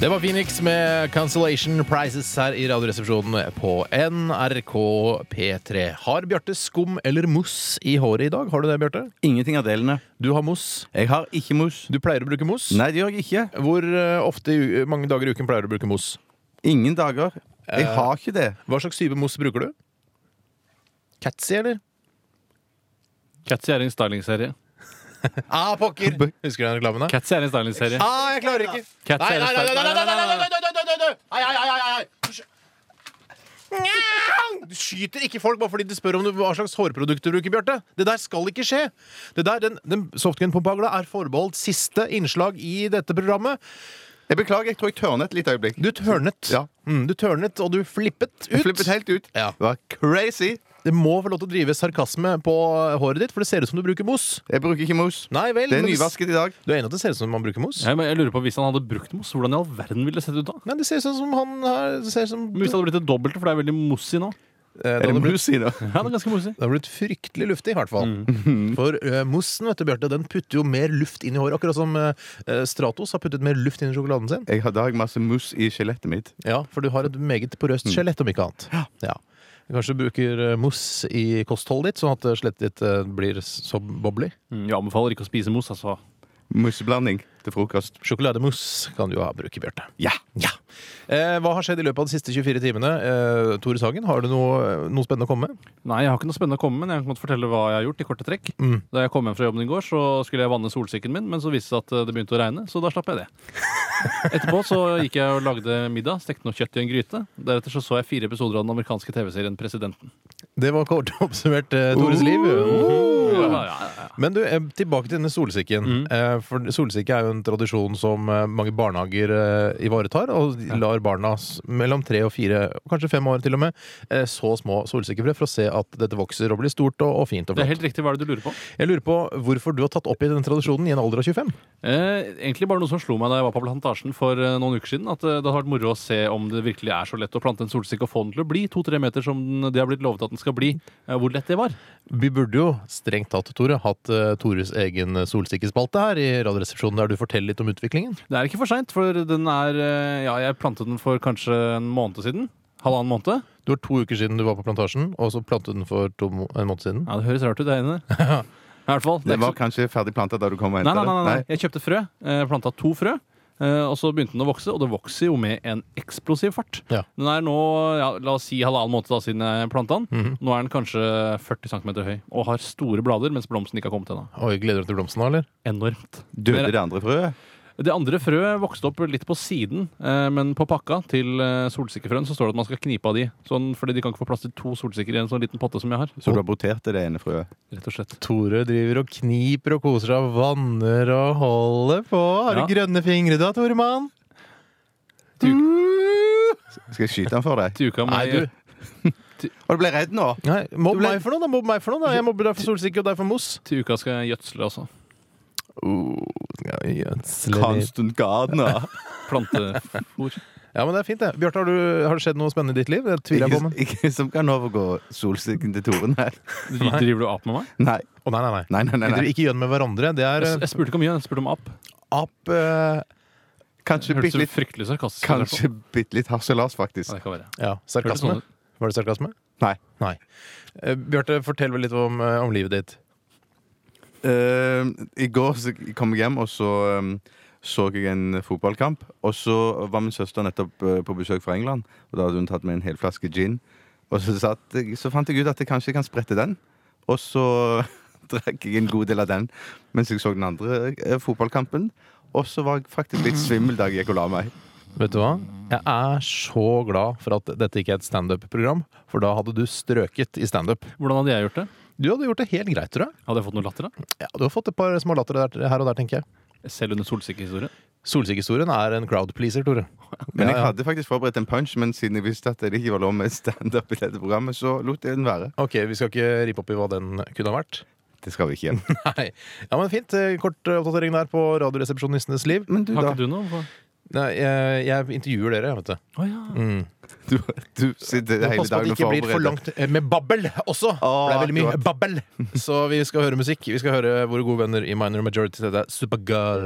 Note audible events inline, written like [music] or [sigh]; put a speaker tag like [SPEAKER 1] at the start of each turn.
[SPEAKER 1] Det var Phoenix med Cancellation Prizes her i Radioresepsjonen på NRK P3. Har Bjarte skum eller mousse i håret i dag? Har du det, Bjarte?
[SPEAKER 2] Ingenting av delene.
[SPEAKER 1] Du har mousse.
[SPEAKER 2] Jeg har ikke mos.
[SPEAKER 1] Du pleier å bruke mousse.
[SPEAKER 2] Nei, det gjør jeg ikke.
[SPEAKER 1] Hvor eh, ofte, i u- mange dager i uken pleier du å bruke mousse?
[SPEAKER 2] Ingen dager. Jeg
[SPEAKER 1] Eh.
[SPEAKER 2] har ikke det.
[SPEAKER 1] Hva slags type mousse bruker du? Catsy, eller?
[SPEAKER 3] Catsy er en stylingserie.
[SPEAKER 1] Ah, pokker! Husker du den reklamen? da?
[SPEAKER 3] Catsy er en stylingserie.
[SPEAKER 1] Ah, jeg klarer ikke!
[SPEAKER 3] Cats
[SPEAKER 1] Nei,
[SPEAKER 3] er
[SPEAKER 1] nei,
[SPEAKER 3] en
[SPEAKER 1] nei, nei,
[SPEAKER 3] sterk-
[SPEAKER 1] nei, nei, nei, nei, nei, nei, nei, nei, nei. Ai, ai, ai, ai, ai. Nja! Du skyter ikke folk bare fordi du spør om du, hva slags hårprodukt du bruker, Bjarte. Det der skal ikke skje. Det der, Den, den softgun-pumpagla er forbeholdt siste innslag i dette programmet.
[SPEAKER 2] Jeg beklager, jeg tror jeg tørnet et lite øyeblikk.
[SPEAKER 1] Du tørnet.
[SPEAKER 2] Ja.
[SPEAKER 1] Mm, du tørnet, og du flippet ut.
[SPEAKER 2] Jeg flippet helt ut.
[SPEAKER 1] Ja.
[SPEAKER 2] Det var crazy.
[SPEAKER 1] Det må få lov til å drive sarkasme på håret ditt, for det ser ut som du bruker mos.
[SPEAKER 2] Jeg bruker ikke mos.
[SPEAKER 1] Nei vel.
[SPEAKER 2] Det er
[SPEAKER 1] men
[SPEAKER 2] nyvasket i dag.
[SPEAKER 1] Du er enig at det ser ut som man bruker mos?
[SPEAKER 3] Ja, men jeg lurer på Hvis han hadde brukt mos, hvordan i all verden ville det sett ut da?
[SPEAKER 1] Nei, det ser ut som han har det ser ut som,
[SPEAKER 3] Men Hvis det hadde blitt det dobbelte, for det er veldig mossi nå.
[SPEAKER 1] Eh, det
[SPEAKER 2] Er
[SPEAKER 1] hadde
[SPEAKER 2] det
[SPEAKER 1] blitt-
[SPEAKER 2] mos i dag?
[SPEAKER 3] Ja, det er ganske mossi.
[SPEAKER 1] Det har blitt fryktelig luftig, i hvert fall. [laughs] For uh, moussen vet du, Bjarte, den putter jo mer luft inn i håret. Akkurat som eh, eh, Stratos har puttet mer luft inn i sjokoladen sin.
[SPEAKER 2] [laughs] Jeg har i dag masse mos i skjelettet mitt.
[SPEAKER 1] Ja, For du har et meget porøst skjelett, om ikke annet. Mm. Ja. Kanskje du bruker eh, mousse i kostholdet ditt, sånn at eh, skjelettet ditt eh, blir så bobbly.
[SPEAKER 3] Mm, Jeg anbefaler ikke å spise mos, altså.
[SPEAKER 2] Museblanding til frokost.
[SPEAKER 1] Sjokolademousse kan du jo ha bruk i, Bjarte.
[SPEAKER 2] Ja!
[SPEAKER 1] Ja. Eh, hva har skjedd i løpet av de siste 24 timene? Eh, Tore Sagen, har du noe, eh, noe spennende å komme med?
[SPEAKER 3] Nei, jeg har ikke noe spennende å komme med, men jeg kan godt fortelle hva jeg har gjort i korte trekk. Da jeg kom hjem fra jobben i går, så skulle jeg vanne solsikken min, men så viste det seg at eh, det begynte å regne, så da slapp [laughs] jeg det. Etterpå så gikk jeg og lagde middag, stekte noe kjøtt i en gryte. Deretter så, så jeg fire episoder av den amerikanske TV-serien Presidenten.
[SPEAKER 1] Det var kort oppsummert eh, Tores liv.
[SPEAKER 3] Ja, Mm. ja, ja.
[SPEAKER 1] Men du, eh, tilbake til denne solsikken.
[SPEAKER 3] Mm.
[SPEAKER 1] Eh, For solsikke er jo en tradisjon som eh, mange barnehager eh, ivaretar, og de lar barna s- mellom tre og fire, og kanskje fem år til og med, eh, så små solsikkefrø for å se at dette vokser og blir stort og, og fint og
[SPEAKER 3] Det er
[SPEAKER 1] flott.
[SPEAKER 3] helt riktig, hva er det du lurer på?
[SPEAKER 1] Jeg lurer på hvorfor du har tatt opp i denne tradisjonen i en alder av 25?
[SPEAKER 3] Eh, egentlig bare noe som slo meg da jeg var på plantasjen for eh, noen uker siden. At eh, det hadde vært moro å se om det virkelig er så lett å plante en solsikke og få den til å bli to-tre meter som den, det har blitt lovet at den skal bli. Eh, hvor lett det var.
[SPEAKER 1] Vi burde jo strengt tatt, Tore, hatt eh, Tores egen solsikkespalte her i Radioresepsjonen, der du forteller litt om utviklingen.
[SPEAKER 3] Det er ikke for seint, for den er eh, Ja, jeg plantet den for kanskje en måned siden. Halvannen måned.
[SPEAKER 1] Du var to uker siden du var på plantasjen, og så plantet den for to, mo- en måned siden.
[SPEAKER 3] Ja, det høres rart ut der inne. I hvert fall.
[SPEAKER 2] Det
[SPEAKER 3] er ikke
[SPEAKER 2] var kanskje ferdig planta da du kom og
[SPEAKER 3] så... nei,
[SPEAKER 2] henta
[SPEAKER 3] nei,
[SPEAKER 2] det?
[SPEAKER 3] nei, nei, nei. Jeg kjøpte frø. eh, Planta to frø. eh, Og så begynte den å vokse, og det vokser jo med en eksplosiv fart.
[SPEAKER 1] Ja.
[SPEAKER 3] Den er nå, ja, la oss si halvannen måned da, siden jeg planta den.
[SPEAKER 1] Mhm.
[SPEAKER 3] Nå er den kanskje 40 cm høy og har store blader, mens blomsten ikke har kommet ennå.
[SPEAKER 1] Oi, gleder du deg til blomsten da, eller?
[SPEAKER 3] Enormt.
[SPEAKER 2] Døde det andre frøet?
[SPEAKER 3] Det andre frøet vokste opp litt på siden, eh, men på pakka til eh, solsikkefrøen så står det at man skal knipe av de. Sånn, fordi de kan ikke få plass til to solsikker i en sånn liten potte som jeg har.
[SPEAKER 2] Så du aborterte det ene frøet?
[SPEAKER 3] Rett og slett.
[SPEAKER 1] Tore driver og kniper og koser seg og vanner og holder på. Har
[SPEAKER 3] Ja.
[SPEAKER 1] du grønne fingre da, Toremann?
[SPEAKER 2] Mm. Skal jeg skyte den for deg?
[SPEAKER 3] Til uka må
[SPEAKER 1] Nei,
[SPEAKER 3] jeg-
[SPEAKER 1] du-
[SPEAKER 2] Og du ble redd nå?
[SPEAKER 1] Nei, mobb
[SPEAKER 2] Du ble-
[SPEAKER 1] meg for noe, da. Mobb meg for noe, da. Jeg mobber deg for solsikke og deg for mos.
[SPEAKER 3] Til uka skal jeg gjødsle altså. også.
[SPEAKER 2] Uh,
[SPEAKER 1] Kanst-
[SPEAKER 2] Constant Gardner.
[SPEAKER 3] Plantefôr.
[SPEAKER 1] Ja, men det er fint, det. Bjarte, har, du- har det skjedd noe spennende i ditt liv? Det tviler jeg på.
[SPEAKER 2] Ikke,
[SPEAKER 1] Men...
[SPEAKER 2] ikke som kan overgå solsikken til Toren her.
[SPEAKER 3] Du- Driver du ap med meg?
[SPEAKER 2] Nei.
[SPEAKER 1] Å, nei, nei, nei.
[SPEAKER 2] Nei, nei, nei,
[SPEAKER 1] Vi driver
[SPEAKER 2] nei.
[SPEAKER 1] Ikke gjønn med hverandre. Det er
[SPEAKER 3] Jeg, jeg spurte ikke om mye, jeg spurte om ap.
[SPEAKER 1] app eh,
[SPEAKER 2] Kanskje
[SPEAKER 3] Hørtes
[SPEAKER 2] bitte
[SPEAKER 3] så
[SPEAKER 2] litt,
[SPEAKER 3] fryktelig sarkastisk ut.
[SPEAKER 2] kanskje bitt litt harselas,
[SPEAKER 3] Ja,
[SPEAKER 2] faktisk.
[SPEAKER 3] det kan være.
[SPEAKER 1] Ja,
[SPEAKER 3] Hørtes sånn
[SPEAKER 1] sarkasme.
[SPEAKER 3] ut.
[SPEAKER 1] Var det sarkasme?
[SPEAKER 2] Nei.
[SPEAKER 1] Nei. Eh, Bjarte, fortell vel litt om, eh, om livet ditt.
[SPEAKER 2] Eh, I går så kom jeg hjem, og så eh, så jeg en fotballkamp. Og så var min søster nettopp eh, på besøk fra England, og da hadde hun tatt med en hel flaske gin. Og så, satt, jeg- så fant jeg ut at jeg kanskje kan sprette den. Og så [laughs] drakk jeg en god del av den mens jeg så den andre eh, fotballkampen. Og så var jeg faktisk litt svimmel da jeg gikk og la meg.
[SPEAKER 1] Vet du hva? Jeg er så glad for at dette ikke er et standup-program, for da hadde du strøket i standup.
[SPEAKER 3] Hvordan hadde jeg gjort det?
[SPEAKER 1] Du hadde gjort det helt greit, tror jeg.
[SPEAKER 3] Hadde jeg fått noe latter, da?
[SPEAKER 1] Ja, du har fått et par små latter der, her og der, tenker jeg.
[SPEAKER 3] Selv under solsikkehistorien?
[SPEAKER 1] Solsikkehistorien er en crowd pleaser, Tore.
[SPEAKER 2] Men jeg
[SPEAKER 1] Ja, ja.
[SPEAKER 2] hadde faktisk forberedt en punch, men siden jeg visste at det ikke var lov med standup i dette programmet, så lot jeg den være.
[SPEAKER 1] Ok, vi skal ikke ripe opp i hva den kunne ha vært.
[SPEAKER 2] Det skal vi ikke igjen.
[SPEAKER 1] [laughs] Nei. Ja, men fint. Eh, Kort eh, oppdatering der på Radioresepsjonistenes liv.
[SPEAKER 2] Men du, da?
[SPEAKER 3] Har ikke du noe?
[SPEAKER 1] Nei, jeg, jeg intervjuer dere, jeg, vet du.
[SPEAKER 3] Å ja.
[SPEAKER 1] Mm.
[SPEAKER 2] Du, du sitter hele
[SPEAKER 1] Pass på at det
[SPEAKER 2] dagen og
[SPEAKER 1] ikke blir for
[SPEAKER 2] forbereder.
[SPEAKER 1] langt eh, med babbel også. For det er veldig mye
[SPEAKER 2] akkurat.
[SPEAKER 1] babbel. Så vi skal høre musikk. Vi skal høre våre gode venner i Minor Majority. Det er Supergirl.